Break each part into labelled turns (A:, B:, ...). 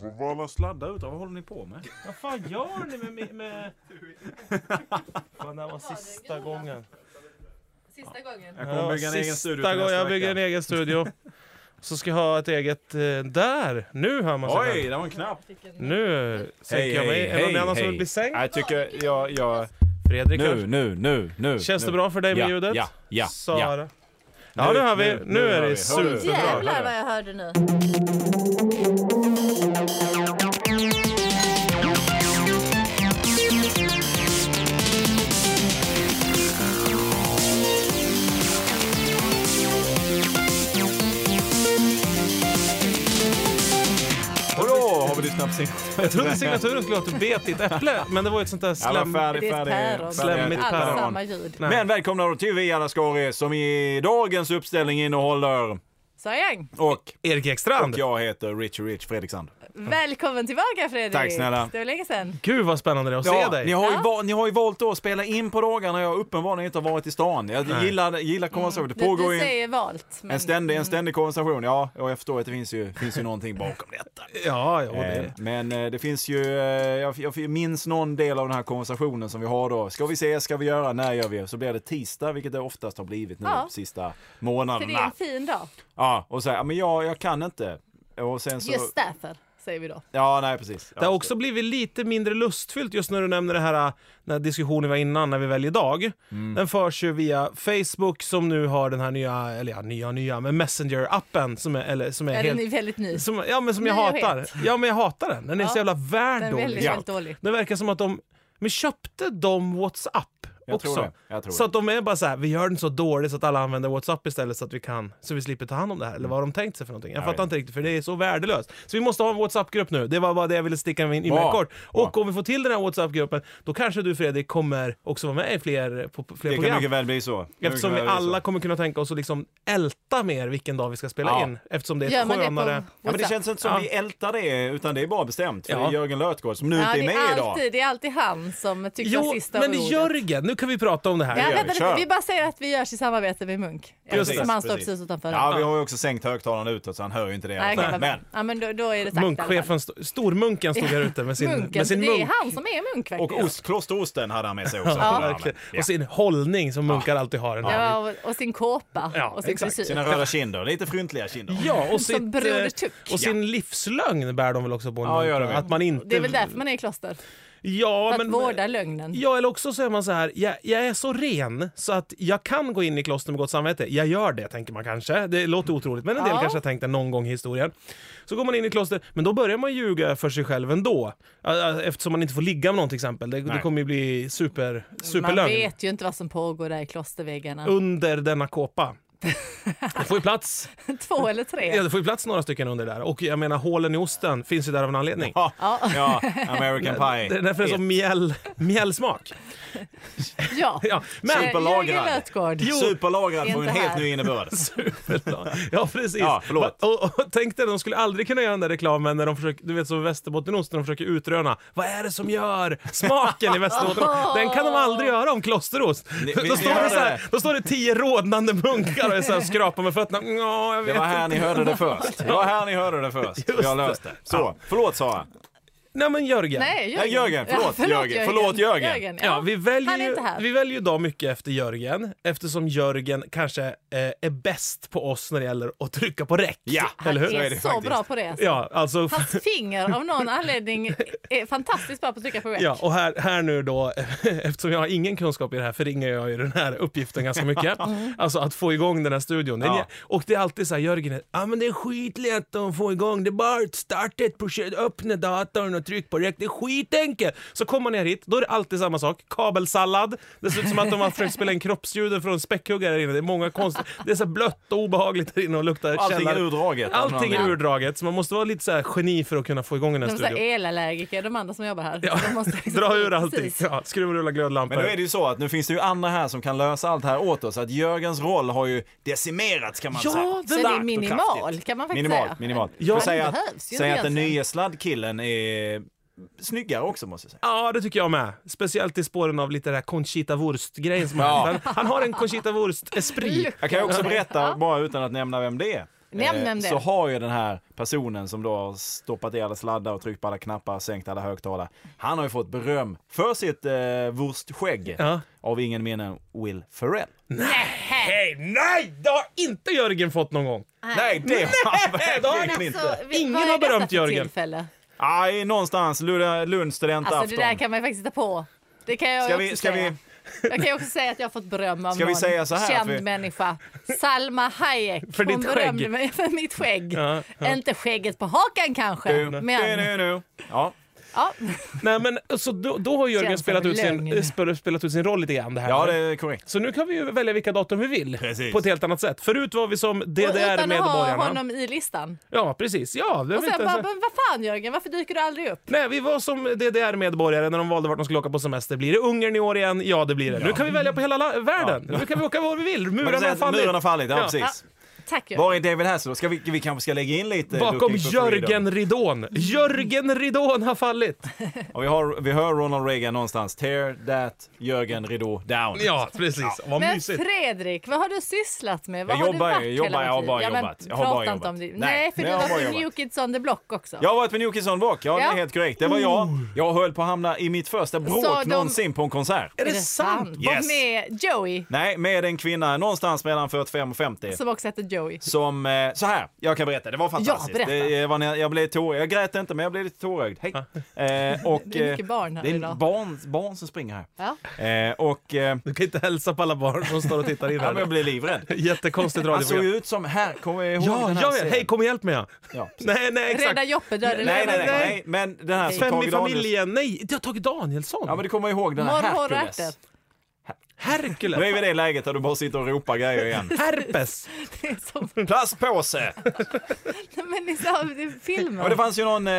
A: Vad var alla sladdar utav? Vad håller ni på med?
B: Vad fan gör ni med... med, med... Fan, det här var sista
C: gula.
B: gången.
C: Sista gången.
A: Jag kommer
B: Ja,
A: bygga en egen
B: sista
A: studio till
B: gången
A: nästa
B: jag bygger en
A: vecka.
B: egen studio. Så ska jag ha ett eget... Eh, där! Nu hör man sig
A: Oj,
B: själv.
A: det var en knapp.
C: Fick en-
B: Nu sänker
A: Hej,
B: jag mig.
A: hej,
B: är det någon
A: hej,
B: annan som vill
A: hej.
B: bli sänkt?
D: Jag tycker jag... jag
B: Fredrik
D: nu,
B: kanske?
D: nu, nu, nu.
B: Känns
D: nu.
B: det bra för dig med
D: ja,
B: ljudet?
D: Ja, ja, ja.
B: Sara? Ja, nu hör vi. Nu, är
D: hör
B: det
D: vi. Hör du?
B: superbra.
C: Jävlar vad jag hörde nu.
D: Och då har vi ditt snabbsignal.
B: Jag trodde signaturen skulle låta bet i ett äpple, men det var ju ett sånt där
D: Alla
B: slem...
C: Det
D: färdig,
C: är ett
D: färdig,
C: päron.
D: färdig.
B: Slemmigt
C: Alla
B: päron.
C: Alltså, samma ljud.
B: Nej.
D: Men välkomna då till vi alla skåri som i dagens uppställning innehåller
C: Sayang.
D: och,
B: Erik
D: och
B: Ekstrand!
D: jag heter Richie Rich Fredriksson.
C: Välkommen tillbaka Fredrik.
D: Tack snälla.
C: Det var länge sedan.
B: Gud vad spännande det är att se dig!
D: ni, har ju
C: Ja.
D: va- ni har ju valt då att spela in på dagar när jag uppenbarligen inte har varit i stan. Jag gillar, gillar konversationer. Det
C: Du,
D: pågår
C: du
D: ju en,
C: säger valt. Men
D: en, ständig, en ständig konversation. Ja, och jag förstår att det finns ju, finns ju någonting bakom detta.
B: Ja, ja,
D: Eh,
B: det.
D: Men eh, det finns ju, eh, jag, jag minns någon del av den här konversationen som vi har då. Ska vi se, ska vi göra, när gör vi? Så blir det tisdag, vilket det oftast har blivit nu
C: Ja.
D: de sista
C: för det är en
D: månaderna.
C: fin dag.
D: Ja, och säga, men jag, jag kan inte. Och sen så,
C: Just därför, säger vi då.
D: Ja, nej precis. Ja,
B: det har också blivit lite mindre lustfyllt just när du nämner det här, när diskussionen var innan, när vi väljer dag. Den förs ju via Facebook som nu har den här nya, eller ja, nya, nya, men Messenger-appen som är, eller, som är
C: Ja, den är
B: helt...
C: väldigt ny.
B: Som, ja, men som jag
C: Nyhet.
B: hatar. Ja, men jag hatar den. Den är
C: Ja,
B: så jävla
C: Den
B: värd liksom.
C: är väldigt,
B: dålig.
D: Ja.
C: väldigt dålig.
B: Det verkar som att de, men köpte de WhatsApp
D: jag
B: också?
D: tror det. Jag tror
B: Så
D: så
B: att de är bara så här, vi gör den så dålig så att alla använder WhatsApp istället så att vi kan, så vi slipper ta hand om det här. Eller vad har de tänkt sig för någonting? Jag,
D: Jag
B: fattar
D: vet.
B: inte riktigt för det är så värdelöst. Så vi måste ha en WhatsApp-grupp nu. Det var bara det jag ville sticka in i med
D: Bra.
B: kort. Och
D: Bra.
B: om vi får till den här WhatsApp-gruppen, då kanske du Fredrik kommer också vara med i fler, på, på fler
D: det kan
B: program.
D: mycket väl bli så. Det kan
B: Eftersom vi
D: mycket väl bli
B: alla
D: så.
B: kommer kunna tänka oss att liksom älta mer vilken dag vi ska spela
D: Ja.
B: in. Eftersom det är
C: Gör
B: ett
C: man det på
B: skönare...
D: Ja, men det
C: WhatsApp?
D: känns inte som
B: Ja.
D: vi ältar det, utan det är bara bestämt. För
B: Ja.
D: det är Jörgen Lötgård som nu
C: Ja,
D: inte är
C: det,
D: med
C: är
D: idag.
C: alltid, det är alltid han som tycker
B: Jo,
C: sista
B: men
C: ordet.
B: Jörgen, nu kan vi prata om det här.
C: Ja,
D: vi.
C: vänta, lite.
D: Kör.
C: vi bara säger att vi görs i samarbete med Munk.
D: Just
C: Eftersom
D: det.
C: han står
D: Precis.
C: precis utanför.
D: Ja, vi har ju också sänkt högtalaren utåt så han hör ju inte det. i alla
C: Nej, okej,
D: fall.
C: vad bra.
D: Men
C: ja, men då, då är det sagt i alla fall.
B: Munkchefen, st- stormunken stod här ute med sin,
C: Munken,
B: med sin
C: det
B: munk.
C: är han som är munk
D: Och
C: verkligen.
D: ost, klosterosten hade han med sig också.
B: Ja,
D: Ja,
B: verkligen.
D: ja.
B: Och sin hållning som munkar alltid har. Den här.
C: Ja, och, och sin kåpa
B: Ja,
C: och sin
B: exakt.
C: frisyr.
D: Sina röda kinder, lite fryntliga kinder.
B: Ja, och,
C: Som
B: sitt, eh,
C: Broder Tuck.
B: och sin livslögn bär de väl också på en
D: Ja,
B: munk,
D: gör de
B: va?
D: väl.
B: Att man inte...
C: Det är väl därför man är i kloster.
B: Ja,
C: För att
B: men... eh,
C: vårda lögnen.
B: Ja, eller också så är man så här, jag, jag är så ren så att jag kan gå in i kloster med gott samvete. Jag gör det, tänker man kanske. Det låter otroligt, men en del
C: Ja.
B: kanske har tänkt det någon gång i historien. Så går man in i kloster, men då börjar man ljuga för sig själv ändå. Ä- ä- Eftersom man inte får ligga med någon till exempel. Det, det
D: Nej.
B: kommer ju bli super,
C: Man
B: superlögn.
C: vet ju inte vad som pågår där i klosterväggarna.
B: Under denna kåpa. Det får ju plats
C: Två eller tre.
B: Ja, det får ju plats några stycken under där. Och jag menar, hålen i osten finns ju där av en anledning.
D: Ja, ja, American Pie.
B: Det är därför det är så mjäll, mjällsmak.
C: Ja.
B: Ja, men...
D: Super.
C: Eh,
D: Superlagrad.
C: Jörgen Lötgård.
B: Jo.
D: Superlagrad på en
C: Inte
D: helt
C: här.
D: ny innebörd.
B: Ja, precis.
D: Ja, förlåt.
B: och, och, och tänk dig, de skulle aldrig kunna göra den där reklamen när de försöker, du vet som Västerbottenost, när de försöker utröna vad är det som gör smaken i Västerbottenost? Den kan de aldrig göra om klosterost.
D: Ni-
B: då,
D: ni
B: står det
D: hörde
B: så här,
D: det.
B: då står det tio rodnande munkar och är så här, skrapar med fötterna. Ja, jag
D: Det
B: vet
D: var här
B: inte.
D: ni hörde det först. Det var här ni hörde det först.
B: Just
D: Vi har löst det. Så, förlåt Sara.
B: Nej men Jörgen.
C: Nej,
D: Ja,
C: Jörgen.
D: Jörgen, förlåt,
C: Ja,
D: Jörgen. Förlåt, Jörgen.
B: Ja, vi
C: Han är
B: väljer, ju,
C: inte här.
B: vi väljer ju idag mycket efter Jörgen eftersom Jörgen kanske eh, är bäst på oss när det gäller att trycka på räck.
D: Ja,
C: Han
B: eller hur?
C: är,
D: Så är det
C: så
D: faktiskt.
C: bra på det. alltså.
B: Ja, alltså...
C: Hans finger av någon anledning är fantastiskt bra på att trycka på rec.
B: Ja, och här, här nu då, eftersom jag har ingen kunskap i det här förringar jag ju den här uppgiften ganska mycket. Alltså att få igång den här studion.
D: Mm. Ja.
B: Och det är alltid så här, Jörgen, ja ah, men det är skitlätt att få igång, det är bara att starta ett projekt, öppna datorn och tryck på räck, det är skitenkelt. Så kommer man ner hit, då är det alltid samma sak, kabelsallad, det ser ut som att de har försökt spela in kroppsljuden från späckhuggare här inne, det är många konstiga, det är så här blött och obehagligt här inne och luktar
D: Allting är urdraget.
B: Allting är urdraget, så man måste vara lite så här geni för att kunna få igång den här
C: De är så här
B: studion.
C: elallergiker, de andra som jobbar här.
B: Ja.
C: De måste liksom-
B: Dra ur allting.
C: Precis.
B: Ja, skruva rulla glödlampor.
D: Men nu är det ju så att nu finns det ju andra här som kan lösa allt här åt oss. Att Jörgens roll har ju decimerats kan man
B: Ja,
D: säga.
B: den
C: Så
D: Starkt
C: det är
D: och
C: minimal
D: kraftigt.
C: kan man faktiskt
D: Minimal,
C: säga.
D: minimal.
B: Ja.
D: Får säga
C: Den
D: att,
C: behövs ju
D: säga att den
C: egentligen.
D: nya sladdkillen är snyggare också måste jag säga.
B: Ja, det tycker jag med. Speciellt i spåren av lite den här Conchita Wurst-grejen som
D: Ja.
B: han, han har en Conchita Wurst-esprit.
D: Jag kan ju också berätta, bara utan att nämna vem det är, Eh,
C: Nämn, nämn det.
D: så har ju den här personen som då har stoppat i alla sladdar och tryckt på alla knappar, sänkt alla högtalare. Han har ju fått beröm för sitt eh, wurstskägg
B: Ja.
D: av ingen mer än Will Ferrell.
B: Hej, nej! Det har inte Jörgen fått någon gång.
D: Nej, det har han
B: det har
D: verkligen
B: han
D: inte.
C: Alltså, vi-
B: Ingen
C: vad är
B: har
C: detta
B: berömt
C: för
B: Jörgen.
C: Tillfälle?
D: Aj, någonstans Lund, Lund studentafton.
C: Alltså det där kan man ju faktiskt hitta på. Det kan jag
D: Ska
C: också
D: vi- ska
C: säga.
D: vi-
C: Jag kan ju också säga att jag har fått beröm av
D: Ska vi
C: någon
D: säga så här,
C: känd
D: för vi-
C: människa. Salma Hayek.
B: För
C: Hon
B: ditt
C: berömde
B: skägg.
C: mig för mitt skägg.
B: Ja,
C: Inte skägget på hakan kanske, men...
D: Nu, nu, nu. Ja.
C: Ja.
B: Nej, men så då, då har Jörgen
C: Känns
B: spelat
C: som
B: ut, sin,
C: lögn.
B: eh, sp- spelat ut sin roll lite grann. Det här.
D: ja, det är korrekt.
B: Så nu kan vi ju välja vilka datum vi vill.
D: Precis.
B: På ett helt annat sätt. Förut var vi som
C: Och utan att ha
B: DDR-medborgarna.
C: honom i listan.
B: Ja, precis. Ja, det
C: Och
B: var inte
C: sen
B: ens-
D: alltså-
C: bara, men vad fan Jörgen, varför dyker du aldrig upp?
B: Nej, vi var som DDR-medborgare när de valde vart de skulle åka på semester. Blir det Ungern i år igen? Ja, det blir det. Nu kan vi välja på hela la- världen. Nu kan vi åka var vi vill.
D: Man kan
B: Murarna
D: säga
B: har
D: att
B: fallit.
D: muren har fallit. Ja,
B: Ja.
D: precis.
C: Tack Jörgen.
D: Var är David Hasselhoff? Ska vi, vi kanske ska lägga in lite
B: Bakom
D: Looking for Freedom.
B: Jörgen Ridån. Jörgen Ridån har fallit.
D: Och vi, har, vi hör Ronald Reagan någonstans. Tear that Jörgen Ridå down.
B: Ja, precis. Vad
C: Men
B: mysigt.
C: Fredrik, vad har du sysslat med? Vad
D: Jag
C: har du
D: jobbar ju,
C: varit
D: jag jobbar,
C: hela
D: jag har
C: tiden?
D: bara
C: ja, men
D: jobbat. Jag har bara
C: prata inte
D: jobbat.
C: om det.
D: Nej,
C: Nej, för
D: men
C: du
D: jag har bara
C: var på
D: jobbat.
C: New Kids on the Block också.
D: Jag har varit med New Kids on the Block. Ja, det
C: Ja.
D: är helt korrekt. Det var jag. Jag höll på att hamna i mitt första bråk
C: Sa de-
D: någonsin på en konsert.
B: Är det sant?
D: Yes.
C: Och med Joey,
D: Nej, med en kvinna någonstans mellan 45 och 50.
C: som också heter Joey.
D: Som, eh, så här, jag kan berätta, det var fantastiskt.
C: Alltså- Ja, berätta.
D: Det, eh, var när jag, jag blev tår, jag grät inte men jag blev lite tårögd. Hej. Eh, och,
C: Det är mycket
D: eh,
C: barn här
D: det är
C: idag.
D: Barn, barn som springer
C: Ja.
D: här. Eh, och eh,
B: Du kan inte hälsa på alla barn som står och tittar in
D: ja, men jag
B: här. Alltså,
D: blev livrädd.
B: Jättekonstigt
D: Han såg
B: radioprogram.
D: ju ut som, här, kommer jag ihåg
B: Ja,
D: den här
B: ja, ja.
D: scenen?
B: Hej, kom och hjälp mig. ja.
D: Ja,
B: Nej, nej, exakt.
C: Rädda Joppe, döda
D: Nej, nej, nej,
C: Löven.
D: nej, men den här som
B: Fem
D: Tage
B: i
D: Danielsson.
B: familjen. Nej, det har Tage Danielsson.
D: Ja, men du kommer ihåg den här
C: Morr, horr och
D: Hercules.
C: ärtor.
D: Nu är
B: Herkules.
D: vi i det läget där du bara sitter och ropar grejer igen.
B: Herpes.
C: Det är som-
D: Plastpåse!
C: Men ni sa det är filmer.
D: Ja, det fanns ju någon eh,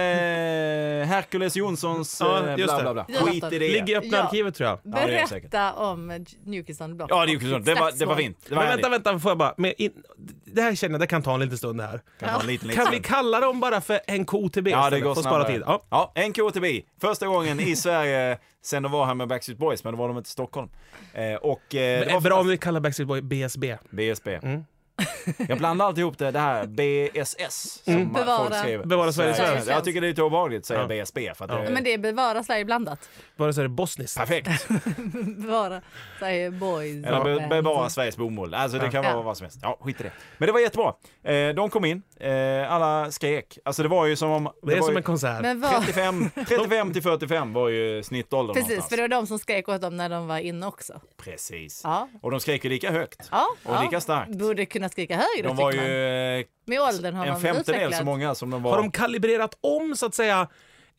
D: Hercules Jonssons eh,
B: Ja,
D: bla,
B: just det.
D: bla, bla.
C: Ja.
D: Skit i det.
B: Ligger i öppna
C: Ja.
B: arkivet tror jag.
D: det är det
C: Berätta
D: säkert.
C: om New Kids on the Block.
D: Ja, det, är ju kul. det, var, det var fint. Det var
B: Men vänta,
D: härligt.
B: vänta, får jag bara. Men in, det här känner jag, det kan ta en liten stund det här.
D: Kan vara en liten, liten
B: Kan vi kalla dem bara för NKOTB
D: Ja, det
B: istället,
D: går Eh,
B: för att spara tid? Ja.
D: Ja. NKTB. Första gången i Sverige sen de var här med Backstreet Boys, men då var de inte i Stockholm. Eh, och, eh, det
B: Det
D: var
B: är bra om vi kallar Backstreet Boy BSB.
D: BSB. Jag blandar alltid ihop det, det här BSS som man-
C: Bevara-
D: folk skriver.
B: Bevara Sverige
D: Sverige.
C: svenskt.
D: Jag tycker det är lite obehagligt att säga BSB. För att det,
C: Men det är Bevara Sverige blandat.
B: Vare sig det är bosniskt.
D: Perfekt.
C: Bevara Sverige boys.
D: Eller be,
C: band.
D: bevara Sveriges bomull. Alltså det kan
C: Ja.
D: vara vad som helst. Ja, skit i det. Men det var jättebra. Eh, de kom in, eh, alla skrek. Alltså det var ju som om...
B: Det är
D: var
B: som
D: ju
B: en konsert.
C: Men vad...
D: 35, 35 till 45 var ju snittåldern
C: Precis, för
D: någonstans.
C: det var de som skrek åt dem när de var inne också.
D: Precis.
C: Ja.
D: Och de skrek ju lika högt.
C: Ja,
D: Och
C: ja.
D: lika starkt.
C: Borde kunna skrika högre
D: De var ju
C: tycker man.
D: eh,
C: Med åldern har
D: en
C: man
D: femtedel
C: utvecklat.
D: så många som de var.
B: Har de kalibrerat om så att säga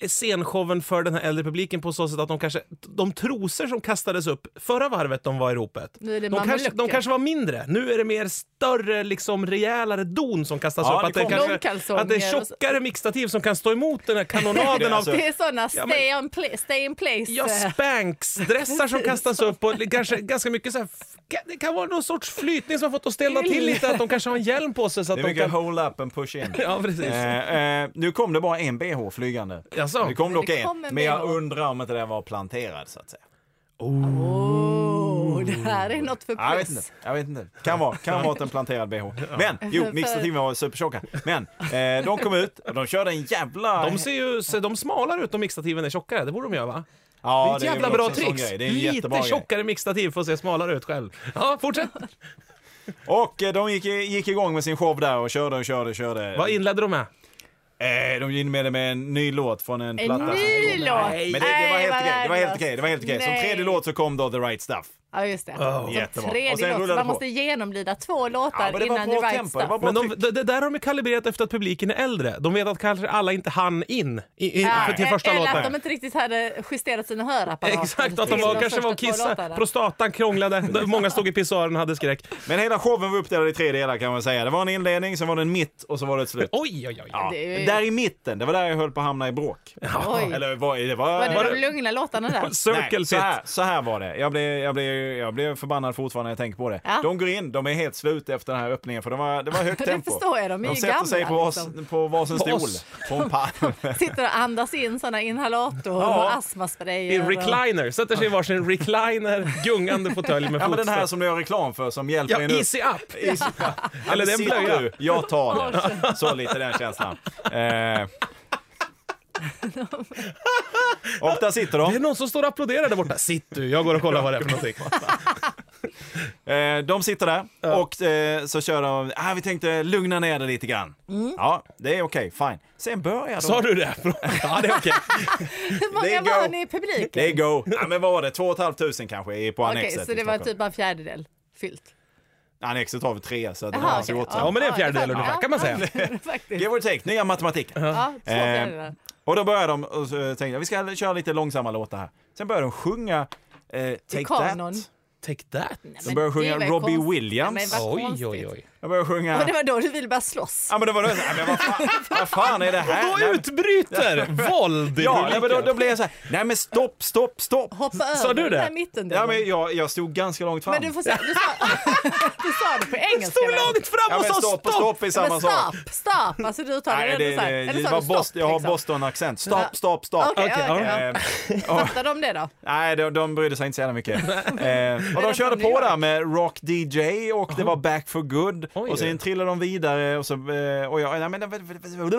B: scenshowen för den här äldre publiken på så sätt att de kanske, de trosor som kastades upp förra varvet de var i ropet,
C: Nu är det
B: de kanske, de
C: mamelucker.
B: kanske var mindre. Nu är det mer större, liksom rejälare don som kastas
D: Ja,
B: upp.
D: det
B: Att det,
D: kommer.
B: kanske,
C: Långkalsonger
B: att det är
C: och så.
B: tjockare mixtativ som kan stå emot den här kanonaden av
D: Alltså,
C: Det är såna
B: Ja, men-
C: stay, on pla- stay in place.
B: Ja, Spanx-dressar som kastas upp och kanske ganska mycket så här, Det kan vara någon sorts flytning som har fått att stelna till lite, att de kanske har en hjälm på sig så att
D: det är
B: de
D: mycket
B: kan...
D: hole up and push in.
B: Ja, precis.
D: Eh, eh, nu kom det bara en bh flygande.
B: Jaså?
D: Det kom dock
C: det kom
D: en,
C: en
D: men jag
C: BH.
D: undrar om inte den var planterad så att säga.
C: Oh, det här är något för
D: Ja, Jag vet inte.
C: plus.
D: Jag vet inte. Kan vara, kan vara att en planterad bh. Men jo, mixtativen var supertjocka. Men eh, de kom ut och de körde en jävla...
B: De ser ju ser de smalare ut om mixtativen är tjockare, det borde de göra va?
D: ja,
B: det är ett jävla
D: väl
B: bra
D: också en sån
B: trix!
D: grej. Det är en jättebra
B: Lite
D: grej.
B: tjockare mixtativ för att se smalare ut själv. Ja, fortsätt!
D: Och eh, de gick, gick igång med sin show där och körde och körde och körde.
B: Vad inledde de med?
D: Eh, de inledde med en ny låt från en,
C: En
D: platta. som
C: ny
D: kom. Men
C: låt?
D: det, det var
C: Nej,
D: helt
C: vad
D: okej. Det var helt
C: värdelöst.
D: okej. Det var helt okej. Som
C: Nej.
D: tredje låt så kom då The Right Stuff.
C: Ja, just det. Som
D: jättebra. Och sen
C: tredje
D: rullade
C: låt. så
D: det
C: Man
D: på.
C: måste genomlida två
D: Ja,
C: låtar
D: men det var
C: innan
D: bra
C: The Right
D: tempo. Det
C: Stuff.
D: var bra
B: Men de,
D: tryck.
B: det, det där har de ju kalibrerat efter att publiken är äldre. De vet att kanske alla inte hann in i, i, för, till
C: Ja,
B: första
C: Eller
B: låten.
C: att de inte riktigt hade justerat sina hörapparater.
B: Exakt, att de
C: till
B: var,
C: de
B: kanske var och
C: första två
B: kissade,
C: låtarna.
B: prostatan krånglade, många stod i pissoaren och hade skräck.
D: Men hela showen var uppdelad i tre delar kan man säga. Det var en inledning, sen var det en mitt och så var det ett slut.
B: Oj, oj, oj.
D: Ja.
C: Det är ju-
D: Där i mitten, det var där jag höll på att hamna i bråk.
C: Oj.
D: Eller var, det var,
C: Var det
D: var
C: de lugna låtarna där?
B: Circle
D: Nej, så
B: pit.
D: här, så här var det. Jag blev, jag blev jag blev förbannad fortfarande när jag tänker på det.
C: Ja.
D: De går in, de är helt slut efter den här öppningen för det var, det var högt
C: Det
D: tempo.
C: förstår jag, de är ju
D: sätter sig på,
C: gamla,
D: vars,
C: liksom.
D: på varsin
B: På
D: stol.
B: oss.
D: På en pall.
C: Sitter och andas in såna inhalator och astmasprayer.
B: I
C: och-
B: recliner, sätter sig i varsin recliner, gungande fåtölj med
D: Ja men den här
B: fotstånd.
D: som du gör reklam för som hjälper
B: Ja,
D: en upp.
B: easy up!
D: Eller
B: den
D: den
B: blöja.
D: blöja. Jag tar det. Så lite den känslan. Eh. Och där sitter
B: Det är
D: de.
B: någon som står och applåderar där borta. Sitt du, jag går och kollar vad det är för någonting.
D: Eh, De sitter där och eh, så kör de, ah, vi tänkte lugna ner det lite grann. Ja, det är okej, fine. Sen börjar de.
B: Mm. Sa du det? Ja, det är okej.
C: Hur
D: They
C: många
D: go.
C: var ni i publiken?
D: Det är go. Ja, men vad var det? Två och ett halvt tusen kanske i- på
C: Okej,
D: Annexet
C: så
D: i
C: det var
D: Stockholm.
C: typ bara en fjärdedel fyllt.
D: Annexet har vi tre, så det
C: Jaha,
D: har alltså
C: okej.
D: gått så.
B: Ja, men det är en
C: Ja,
B: fjärdedel
C: det är sant.
B: ungefär, kan man säga.
C: Faktiskt.
D: Give or take, nya matematik.
C: Ja, två fjärdedelar.
D: Eh, och då börjar de och så tänkte jag, vi ska köra lite långsamma låtar här. Sen börjar de sjunga eh, Take
C: kanon.
D: That.
B: Take that.
D: De börjar sjunga Robbie Williams.
C: Nej, men vad
B: Oj,
C: konstigt.
B: oj, oj.
D: Jag börjar
C: Och det
D: sjunga...
C: var då du ville bara slåss.
D: Ja men då var det såhär, men vad fan, vad fan är det här?
B: Då
D: Nej, men-
B: utbryter våld i
D: Ja, nej, men då,
B: publiken.
D: då blev jag såhär, nej men stopp, stopp, stopp.
C: Hoppa över
B: du
C: den
B: det?
C: där mitten då.
D: Ja men jag, jag stod ganska långt fram.
C: Men du får säga, du sa, du sa det på engelska.
B: Stod
C: väl?
B: långt fram
D: Ja
B: och
D: men
B: sa
D: stopp, och stopp är
C: Alltså, Men
D: samma sak.
C: Stop, stop. Alltså du uttalar
D: Nej, det,
C: det, ändå så här.
D: det,
C: Eller
D: det
C: sa
D: var
C: du stopp?
D: Boston, jag har
C: liksom?
D: Boston-accent. Stopp, stopp, stopp.
C: Okej,
B: Okej,
C: okej,
B: ja.
C: ja.
D: Eh, och-
C: Fattar de det då?
D: Nej, de, de brydde sig inte så jävla mycket. Eh, och de
C: från
D: körde
C: New
D: på
C: York.
D: där med Rock DJ och det var Back for Good.
B: Oj.
D: Och sen trillade de vidare och så... eh, Och jag, nej, men,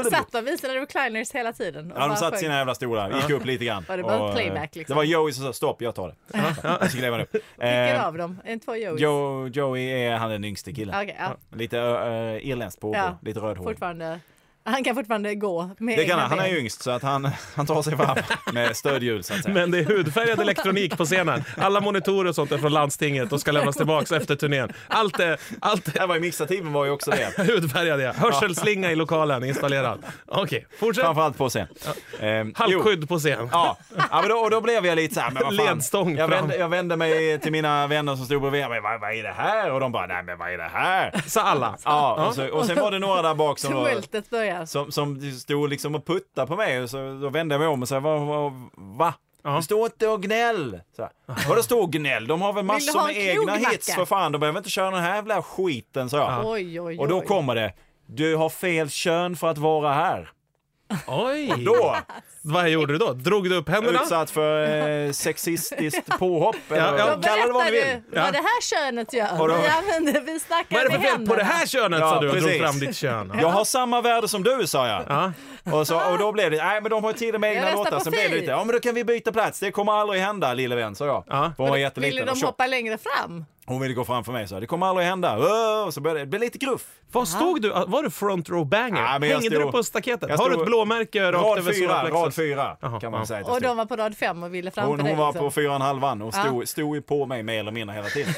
C: Satt de vid sina recliners hela tiden? och
D: Ja, de
C: bara
D: satt
C: sjöng?
D: sina jävla stolar, gick upp lite grann.
C: Var det bara
D: Och, eh,
C: playback, liksom?
D: Det var Joey som sa stopp, jag tar det. Jag ska gräva upp.
C: Vilken
D: Eh,
C: av dem? En två Joeys?
D: Joe, Joey är han är den yngste killen.
C: Okej, ja.
D: Lite uh, irländskt påbrå,
C: Ja.
D: lite rödhårig.
C: Fortfarande. Han kan fortfarande gå med
D: Det kan han,
C: egna
D: han är
C: ben.
D: yngst så att han, han tar sig fram med stödhjul så att säga.
B: Men det är hudfärgad elektronik på scenen. Alla monitorer och sånt är från landstinget och ska lämnas tillbaka efter turnén. Allt är, allt är
D: Det här var ju mixativen var ju också det.
B: hudfärgad, ja. Hörselslinga i lokalen installerad. Okej, fortsätt.
D: Framförallt på scen. Eh, jo.
B: Halkskydd på scen.
D: Ja, ja men då, och då blev jag lite så här, men vad fan.
B: Ledstång
D: jag,
B: fram.
D: vände, jag vände mig till mina vänner som stod bredvid mig. Vad, vad är det här? Och de bara, nej men vad är det här?
B: Sa alla.
D: Ja, och, så, och sen var det några där bak som, var,
C: Tumultet börjar.
D: som, som stod liksom och puttade på mig. Och så, då vände jag mig om och sa, va? va, va?
B: Ja.
D: Stå inte och gnäll! Så här. Vadå stå och gnäll? De har väl
C: Vill du
D: massor
C: ha
D: med
C: en krog,
D: egna hits
C: Macke?
D: för fan. De behöver inte köra den här jävla skiten, sa jag.
C: Oj, oj, oj.
D: Och då kommer det, du har fel kön för att vara här.
B: Oj!
D: Då
B: Vad gjorde du då? Drog du upp händerna?
D: utsatt för eh, sexistiskt påhopp. Eller,
B: ja.
C: Då
B: Då
D: kalla det vad ni vill.
C: berättar du vad det här könet gör.
D: Och då-
C: Vi, använder, vi snackar
B: Vad är det för
C: med
B: fel på det här könet?
D: Ja,
B: sa du och drog
D: precis.
B: fram ditt kön.
D: Jag har samma värde som du, sa jag.
B: Ja.
D: Och, så, och då blev det, nej men de har ju till och med
C: Jag
D: egna
C: röstar
D: låtar.
C: på
D: Sen blev det
C: Fi.
D: lite, ja men då kan vi byta plats. Det kommer aldrig hända, lille vän, sa jag.
B: Ja.
D: För hon var
C: händerna. Ville
D: jätteliten och
C: de
D: tjock.
C: hoppa längre fram?
D: Hon ville gå framför mig, så det kommer aldrig hända. Öh, Och så började det, det blev lite gruff.
B: Vad stod du? Ah, Var du front row banger?
D: Ja, men jag
B: Hängde
D: stod-
B: du på staketet?
D: jag
B: Har du
D: stod-
B: ett blåmärke rakt
D: Rad
B: över
D: fyra, rad
B: solarplexus?
D: fyra
B: Jaha,
D: kan man
B: ja.
D: säga att jag
C: Och
D: stod.
C: de var på rad fem och ville framför
D: Hon,
C: dig.
D: hon var
C: liksom.
D: på fyra och en halv vann och stod, stod ju på mig mer eller mindre hela tiden.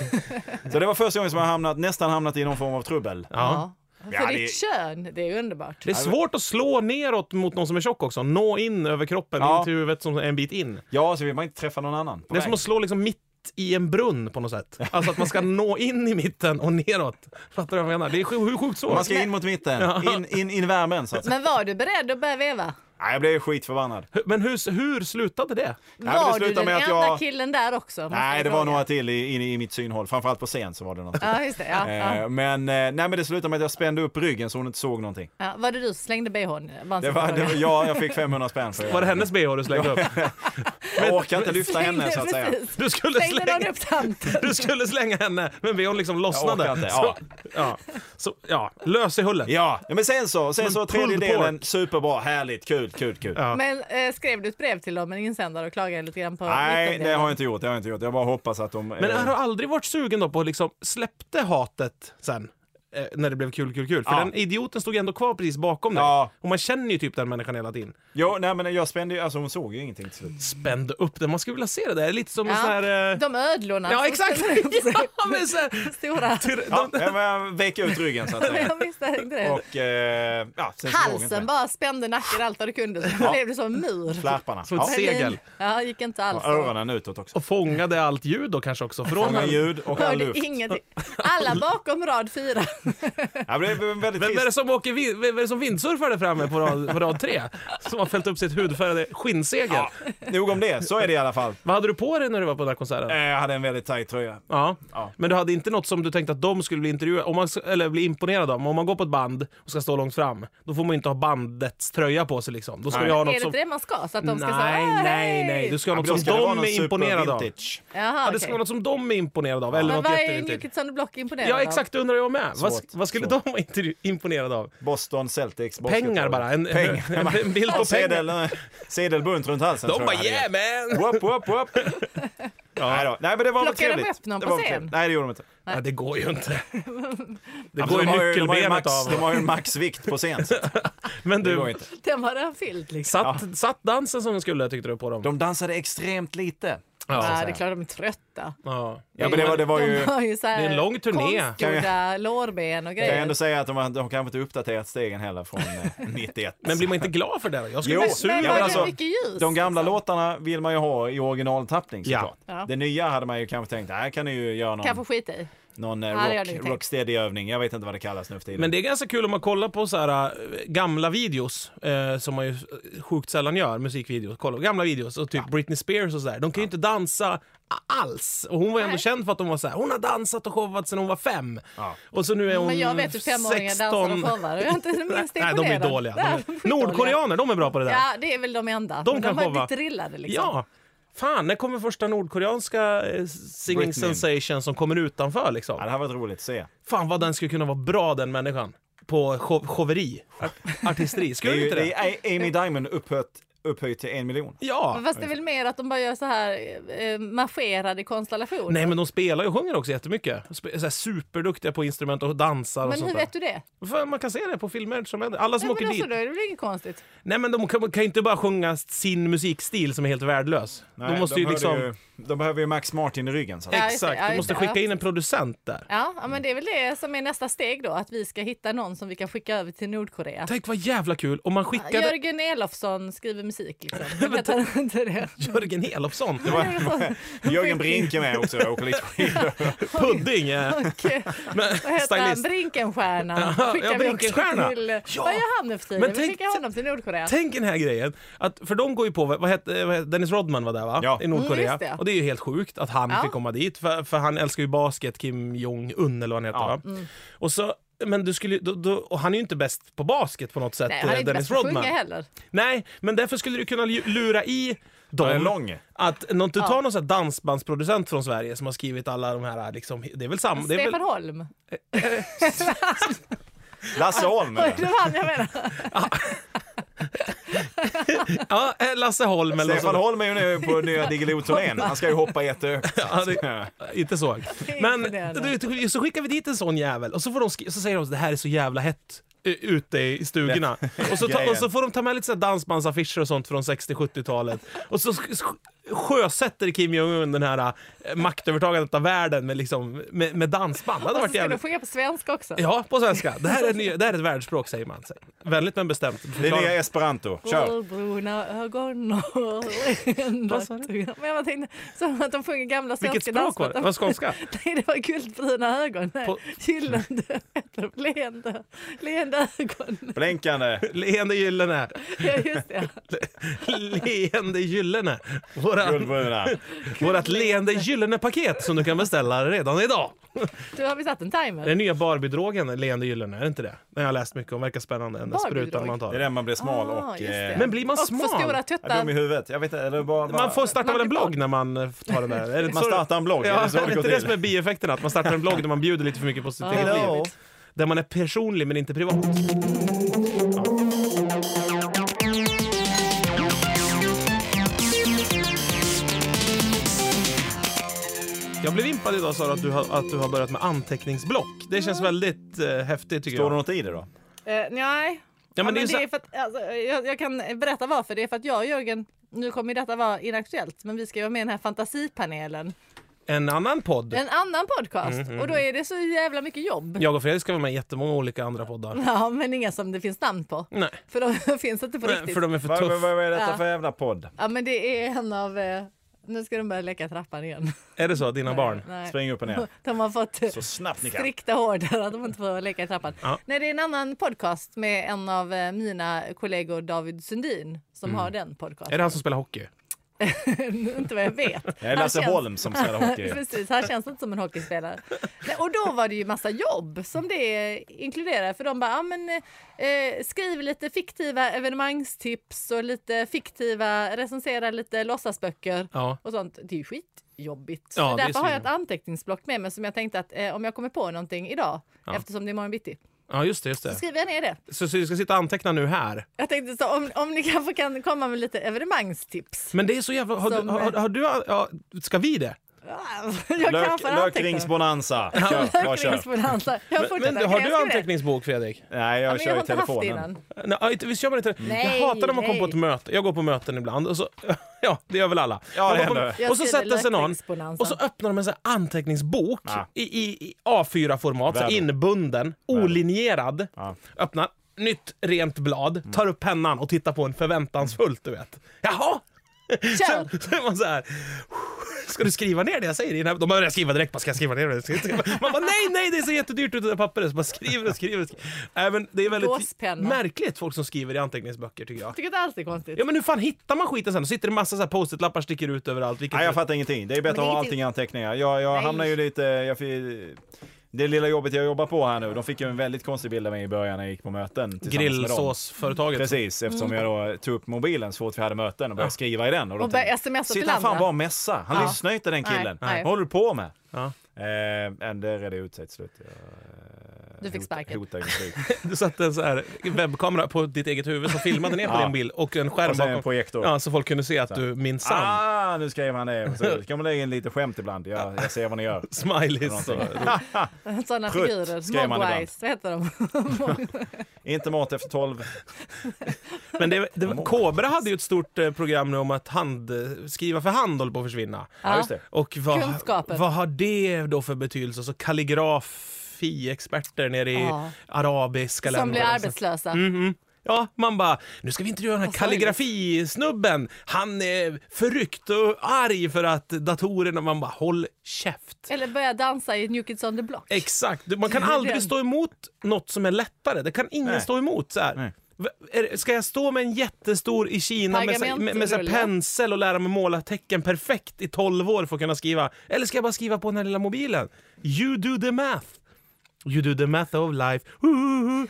D: så det var första gången som jag hamnat, nästan hamnat i någon form av trubbel.
B: Ja.
C: För
D: Ja, det-
C: ditt kön, det är underbart.
B: Det är svårt att slå neråt mot någon som är tjock också. Nå in över kroppen,
D: Ja.
B: in till huvudet, som är en bit in.
D: Ja, så vill man inte träffa någon annan. på
B: Det är som
D: vägen.
B: att slå liksom mitt i en brunn på något sätt. Alltså att man ska nå in i mitten och neråt. Fattar du vad jag menar? Det är sj- hur sjukt svårt.
D: Man ska in mot mitten, in, in, in i värmen så att säga.
C: Men var du beredd att börja veva?
D: Nej, jag blev skitförbannad.
B: Hur- Men hur, hur slutade det?
D: men det
C: Var du
D: slutade
C: den
D: med att
C: enda
D: jag-
C: killen där också? måste
D: Nej,
C: jag
D: det var
C: fråga.
D: några till i, in, i mitt synhåll. Framförallt på scen så var det något.
C: Ja, just det. Ja, ja,
D: Eh, Men, eh, nej, men det slutade med att jag spände upp ryggen så hon inte såg någonting.
C: ja. Var det du som slängde bhn? en
D: Det
C: sån
D: var,
C: fråga.
D: det var, ja, jag fick 500 spänn för det.
B: Var det hennes bh du slängde upp?
D: Jag orkar inte lyfta henne så att säga.
C: Precis.
B: Du skulle
C: Slängde någon
B: slänga,
C: upp tanten?
B: du skulle slänga henne, men bhn liksom lossnade.
D: orkar inte,
B: Så, ja. Så, ja, lös i hullet.
D: Ja, ja, men sen så, sen så tredje
B: pulled
D: delen, superbra, härligt, kul, kul, kul.
B: Ja.
C: Men eh, skrev du ett brev till dem, en insändare och klagade lite grann på
D: Nej, det
C: mittendelen?
D: har jag inte gjort, det har jag inte gjort. Jag bara hoppas att de...
B: Men
D: eh,
B: har du aldrig varit sugen då på att liksom släppte hatet sen? eh, När det blev kul, kul, kul. För
D: Ja.
B: den idioten stod ju ändå kvar precis bakom dig.
D: Ja.
B: Och man känner ju typ den människan hela tiden.
D: Jo, nej men jag spände ju, alltså hon såg ju ingenting till slut.
B: Spände upp den. Man skulle vilja se det där. Lite som en
C: Ja,
B: sån här... eh,
C: De ödlorna.
B: Ja,
C: som
B: exakt!
C: ställer upp sig.
B: ja, men så här,
C: Stora.
B: tyr,
D: Ja,
B: de,
D: men jag vek ut ryggen så att säga.
C: Jag visste inte det.
D: Och, eh, ja, sen så såg hon inte
C: Halsen
D: mig.
C: bara spände nacken allt vad du kunde. Så blev det som en mur.
D: Flärparna.
B: Som ett
D: Ja.
B: se- Segel.
C: Ja, gick inte alls.
D: Och öronen utåt också.
B: och fångade allt ljud då kanske också. Från
D: Många ljud och all
C: Hörde
D: luft.
C: ingenting. Alla bakom rad fyra.
D: Ja, men det är en väldigt
B: Vem är det
D: trist.
B: som, åker vin- vem är det som vindsurfar där framme på rad, på rad tre? Som har fällt upp sitt hudfärgade skinnsegel.
D: Nog om det, så är det i alla fall.
B: Vad hade du på dig när du var på den här konserten?
D: Eh, Jag hade en väldigt tajt tröja.
B: Ja.
D: Ja.
B: men du hade inte något som du tänkte att de skulle bli intervjuade om man, eller bli imponerade av. Men Om man går på ett band och ska stå långt fram, då får man inte ha bandets tröja på sig liksom. Då ska
D: Nej.
B: du ha
C: Är det
B: något som...
C: inte det man ska? Så att de ska säga
B: nej,
C: "Ah,
B: nej,
C: hej!"
B: nej. Du ska ha
D: Ja,
B: något
D: men då
B: som
D: ska det vara
B: de
D: någon
B: är imponerade av.
D: supervintage.
C: Jaha,
B: Ja, det ska
C: okej.
B: vara något som de är imponerade av. Eller
C: Men
B: något
C: vad är
B: jättevintage.
C: Newkitsson och Block imponerade
B: Ja,
C: av?
B: exakt. Det undrar jag med. Vad,
D: Svårt,
B: vad skulle de vara inte imponerade av?
D: Boston Celtics.
B: Pengar
D: basketboll.
B: bara. En,
D: Pengar.
B: en, en bild på pengar.
D: Sedel, eh, sedelbunt runt halsen
B: De
D: tror jag
B: bara
D: hade gett.
B: yeah man!
D: Whoop, whoop, whoop. Nej, då. Nej, men det var väl
C: Plockade de
D: trevligt.
C: upp någon
D: det
C: på
D: var väl
C: scen?
D: trevligt. Nej, det gjorde de inte.
B: Nej, det går ju inte. Det
D: Ja,
B: går ju
D: men Alltså, de har de har ju
B: nyckelbenet
D: max- De
B: av.
D: har ju en maxvikt på scen. så att
B: Men
D: Det går
B: du,
D: inte.
C: Den var den fylld liksom.
B: satt, satt dansen som den skulle tyckte du på dem?
D: De dansade extremt lite.
C: Ja,
B: Ja.
C: det är klart de är trötta.
B: Ja.
D: Ja, men det var, det var ju...
C: De har ju så här
B: Det är en lång turné.
C: konstgjorda lårben och
D: Jag kan ju
C: grejer.
D: ändå säga att de, har- de kanske inte uppdaterat stegen heller från eh, 91.
B: Men blir man inte glad för det? Jag skulle
D: Jo.
B: bli sur.
C: Men
D: Ja,
C: var
D: men
C: det
D: alltså,
C: mycket ljus?
D: De gamla
C: liksom?
D: låtarna vill man ju ha i originaltappning
B: Ja.
D: såklart.
C: Ja.
D: Det nya hade man ju kanske tänkt, det här kan ni ju göra någon,
C: Kanske skit i.
D: någon eh,
C: det hade jag
D: rock,
C: nog tänkt.
D: rocksteady-övning. Jag vet inte vad det kallas nu för tiden.
B: Men det är ganska kul om man kollar på så här, eh, gamla videos, eh, som man ju eh, sjukt sällan gör, musikvideos. Kolla på gamla videos, och typ Britney Spears och sådär. De kan ju inte dansa a- alls. Och hon var ju ändå
C: Nej.
B: känd för att hon var så här, hon har dansat och showat sedan hon var fem.
D: Ja.
B: Och så nu är hon
C: Men jag vet hur femåringar dansar och
B: 16.
C: showar. Jag är inte det minsta
B: Mm, Nej, de är
C: imponerad.
B: dåliga. De
C: Nej,
B: är... Nordkoreaner, de är bra på det där.
C: Ja, det är väl de enda.
B: De
C: Men
B: kan
C: de har ju
B: showa.
C: blivit drillade liksom.
B: Ja! Fan, när kommer första nordkoreanska eh, singing
D: Britney.
B: sensation som kommer utanför liksom?
D: Ja, det här var roligt att se.
B: Fan vad den skulle kunna vara bra den människan. På show, showeri, Art- artisteri.
D: Det
B: Skulle
D: är, ju,
B: inte
D: det
B: det?
D: är A- Amy Diamond upphöjt, upphöjt till en miljon.
B: Ja!
C: Men Fast det är väl mer att de bara gör så här eh, marscherade konstellationer.
B: Nej men de spelar ju och sjunger också jättemycket. Sp- så här superduktiga på instrument och dansar och
C: men
B: sånt
C: hur
B: där.
C: vet du det?
B: Fan, man kan se det på filmer som händer. Alla som
C: Nej,
B: åker
C: men
B: dit.
C: alltså, då är det väl inget konstigt?
B: Nej men de kan, kan ju inte bara sjunga sin musikstil som är helt värdelös. de måste ju
D: hörde
B: liksom...
D: ju- de behöver ju Max Martin i ryggen. Så. att-
C: Ja, just det.
B: Exakt,
C: Ja,
B: de
C: just
B: måste
C: det.
B: skicka
C: Ja.
B: in en producent där.
C: Ja, ja, men det är väl det som är nästa steg då, att vi ska hitta någon som vi kan skicka över till Nordkorea.
B: Tänk vad jävla kul om man skickade
C: Jörgen Elofsson skriver musik liksom. Jag vet inte det.
B: Jörgen Elofsson.
D: Jörgen Brink är med också och åker lite skidor.
B: Pudding! eh.
C: Och, eh,
B: Men,
C: vad heter han?
B: stylist.
C: Brinkenstjärna. Skickar
B: ja,
C: vi också
B: Brinkenstjärna.
C: Till,
B: Ja.
C: Vad gör han nu för tiden?
B: Men
C: Men
B: tänk-
C: vi skickar honom till Nordkorea.
B: Tänk den här grejen, att, för de går ju på, vad hette, vad hette, Dennis Rodman var där va?
D: Ja.
B: I Nordkorea.
C: Mm, just det.
B: Och det är ju helt sjukt att han
C: Ja.
B: fick komma dit, för, för han älskar ju basket, Kim Jong-Un eller vad han heter
D: Ja.
B: va?
C: Mm.
B: Och så men du skulle, ju- då, då, och han är ju inte bäst på basket på något sätt,
C: Nej, han är
B: eh,
C: inte
B: Dennis
C: bäst på att
B: Rodman.
C: sjunga heller.
B: Nej, men därför skulle du kunna lu- lura i
D: Han är
B: dem
D: lång.
B: att någon, du tar
C: Ja.
B: någon sån här dansbandsproducent från Sverige som har skrivit alla de här, liksom, det är väl samma... Det är väl,
C: Stefan Holm.
D: Lasse Holm.
C: Oj,
D: eller?
C: det var han jag menar.
B: ja, eh, Lasse Holm eller något
D: Stefan
B: sånt.
D: Holm är ju nu på nya Diggiloo-turnén. Han ska ju hoppa jättehögt.
B: Ja, det, inte så.
C: är
B: Men
C: imponerande.
B: du, så skickar vi dit en sån jävel och så, får de, sk- så säger de att det här är så jävla hett eh, ute i stugorna. Och så, ta,
D: Grejen.
B: och så får de ta med lite så här dansbandsaffischer och sånt från 60-70-talet. Och så sk- sk- sjösätter Kim Jong-Un den här eh, maktövertagandet av världen med, liksom, med, med dansband. Det hade
C: Och så
B: varit
C: Alltså, ska du
B: jävligt...
C: sjunga på svenska också.
B: Ja, på svenska. Det här är, ny, det här är ett världsspråk säger man. Vänligt men bestämt.
D: Det är nya esperanto. Kör.
C: Blåbruna ögon och länder.
B: Vad sa
C: Men jag bara tänkte, som att de sjunger gamla svenska
B: Vilket språk var det?
C: dansband.
B: Var det skånska?
C: Nej, det var guldbruna ögon. Nej,
B: På-
C: gyllene, leende, leende ögon.
D: Blänkande.
B: Leende gyllene.
C: Ja, just det.
B: Leende gyllene. Våra
D: Guldbruna.
B: Vårt leende gyllene paket som du kan beställa redan idag.
C: Du har vi satt en timer.
B: Den nya Barbie-drogen, leende gyllene, är det inte det? Den har jag läst mycket om, verkar spännande. Den där
C: Barbie-drog?
B: sprutan man
D: Det är
B: tar.
D: där man blir smal
C: Ah,
D: och
C: just det.
D: eh,
B: Men blir man
C: Och för stora
B: smal?
D: är dum i
C: tuttar.
D: huvudet. Jag vet inte. Eller bara, bara,
B: Man får starta väl en
C: Man blir
B: blogg när man eh, tar den där? Är det inte
D: man
B: så-
D: startar en blogg.
B: Ja,
D: är det så
B: är
D: det
B: det
D: går
B: inte det som är
D: till?
B: bieffekten? Att man startar en blogg där man bjuder lite för mycket på sitt
C: Ja.
B: eget liv?
C: Hello.
B: Där man är personlig men inte privat. Jag blev impad idag Sara att du har, att du har börjat med anteckningsblock. Det känns väldigt eh, häftigt tycker
D: Står det
B: jag.
D: något i det då?
C: Eh, nej.
B: Ja, men det är så-
C: det är för att, alltså, jag, jag kan berätta varför. Det är för att jag och Jörgen, nu kommer ju detta vara inaktuellt, men vi ska ju vara med i den här fantasipanelen.
B: En annan podd.
C: En annan podcast.
B: Mm,
C: Och då är det så jävla mycket jobb.
B: Jag och Fredrik ska vara med i jättemånga olika andra poddar.
C: Ja, men inga som det finns namn på.
B: Nej,
C: För de finns inte på
B: nej,
C: riktigt.
B: för de är för
D: Vad, vad,
B: tuffa.
D: vad är detta
C: Ja.
D: för jävla podd?
C: Ja, men det är en av eh, Nu ska de börja leka trappan igen.
B: Är det så? Dina barn?
C: Nej.
D: Spring upp och ner.
C: De har fått eh,
D: Så snabbt ni kan.
C: strikta order att de inte får leka i trappan.
B: Ja.
C: Nej, det är en annan podcast med en av eh, mina kollegor David Sundin som har den
B: Är
C: podcasten.
B: det han som spelar hockey?
C: inte vad jag vet.
D: Mm. Det är Lasse
C: Han känns-
D: Holm som spelar hockey.
C: Precis, han känns inte som en hockeyspelare. Nej, och då var det ju massa jobb som det inkluderar. För de bara, ja men eh, skriv lite fiktiva evenemangstips och lite fiktiva, recensera lite låtsasböcker
B: Ja.
C: och sånt. Det är ju skitjobbigt.
B: Ja,
C: så
B: det är
C: därför har jag ett
B: svinjobb.
C: anteckningsblock med mig som jag tänkte att eh, om jag kommer på någonting idag, eftersom det är imorgon bitti,
B: Ja, just det. Just
C: så
B: det.
C: skriver jag ner det.
B: Så, så du ska sitta och anteckna nu här.
C: Jag tänkte så, om, om ni kanske kan komma med lite evenemangstips.
B: Men det är så jävla... Har,
C: Som-
B: du, har, har du... Ja, ska vi det?
C: Jag
D: Lök,
C: kanske har antecknat.
D: lökringsbonanza. Kör, bara kör.
C: Lökringsbonanza. Jag
B: Men,
C: fortsätter.
B: men,
C: Okej,
B: har
C: jag
B: du
C: skriver det.
B: anteckningsbok, Fredrik?
D: Nej,
C: Ja,
D: jag
C: men
D: kör
C: har
D: i
C: inte haft det
D: telefonen.
C: innan.
B: Nej, inte- visst gör man inte det?
C: Nej,
B: jag hatar när man kommer på
C: nej.
B: ett möte. Jag går på möten ibland. Och så, ja, det gör väl alla.
D: Ja, det
B: Man går på-
D: händer.
C: Jag
B: och så
C: skriver
B: sätter sig någon
C: lökringsbonanza.
B: och så öppnar de en sån här anteckningsbok
D: Ja.
B: i, i, i A4-format, så
D: Världen.
B: inbunden, olinjerad.
D: Ja.
B: Öppnar, nytt rent blad,
D: Mm.
B: tar upp pennan och tittar på en förväntansfullt, du vet. Jaha!
C: Kör!
B: Så är man så här... Ska du skriva ner det jag säger? i den här-" De börjar skriva direkt. Bara, ska jag skriva ner det? Ska jag skriva? Man bara, nej, nej, det ser jättedyrt ut det där pappret. Så bara skriver och skriver. och skriver. Även, det är väldigt
C: Gåspenna.
B: märkligt folk som skriver i anteckningsböcker tycker jag.
C: Tycker inte alls det är konstigt.
B: Ja men hur fan hittar man skiten sen? Sitter det massa så här post-it-lappar sticker ut överallt. Vilket
D: Nej, jag fattar ingenting. Det är bättre
C: Men
D: att ha
C: ingenting-
D: allting i anteckningar. Jag, jag
C: Nej.
D: hamnar ju lite... Jag fick, det lilla jobbet jag jobbar på här nu, de fick ju en väldigt konstig bild av mig i början när jag gick på möten tillsammans med dem.
B: Grillsåsföretaget.
D: Precis, eftersom jag då tog upp mobilen så fort vi hade möten och började skriva i den. Och, då
C: Mm. Och börja
D: tänkte-
C: smsa till
D: Sitter han fan
C: andra."
D: bara och messar? Han
C: Ja.
D: lyssnar ju inte den
C: Nej,
D: killen.
C: nej.
D: Vad håller du på med?
B: Ja.
D: Eh, men det redde ut sig till slut. Jag, eh,
C: Du fick
D: hot-
C: sparken.
D: Hotade ju slut.
B: Du satte en så här webbkamera på ditt eget huvud som filmade ner på
D: Ja.
B: din bild och en skärm
D: Och sen en
B: bakom.
D: projektor.
B: Ja, så folk kunde se att du minsann
D: Ah, nu skrev han det. Så kan man lägga in lite skämt ibland. Jag, jag ser vad ni gör.
B: smileys. och-
C: Sådana
D: Prutt,
C: figurer.
D: skrev man
C: Mogwise, vad heter de?
D: Inte mat efter tolv.
B: Men det, det, Kobra hade ju ett stort eh, program nu om att hand, eh, skriva för hand håller på att försvinna.
D: Ja, just det.
B: Och vad,
C: Kunskapen.
B: vad har det då för betydelse? Så kalligrafiexperter nere i
C: Ja.
B: arabiska länder.
C: Som blir arbetslösa.
B: Mhm. Ja, man bara, nu ska vi intervjua den här
C: Vad sorgligt.
B: kalligrafisnubben. Han är förryckt och arg för att datorerna, man bara, håll käft.
C: Eller börja dansa i New Kids on the Block.
B: Exakt, Du, man kan
C: Det är
B: aldrig
C: den.
B: stå emot något som är lättare. Det kan ingen
D: Nej.
B: stå emot. Så här.
D: Nej.
B: V- är- Ska jag stå med en jättestor i Kina med, så- med, med så här
C: Pergamentrulle.
B: pensel och lära mig måla tecken perfekt i 12 år för att kunna skriva? Eller ska jag bara skriva på den här lilla mobilen? You do the math. You do the math of life. Ooh.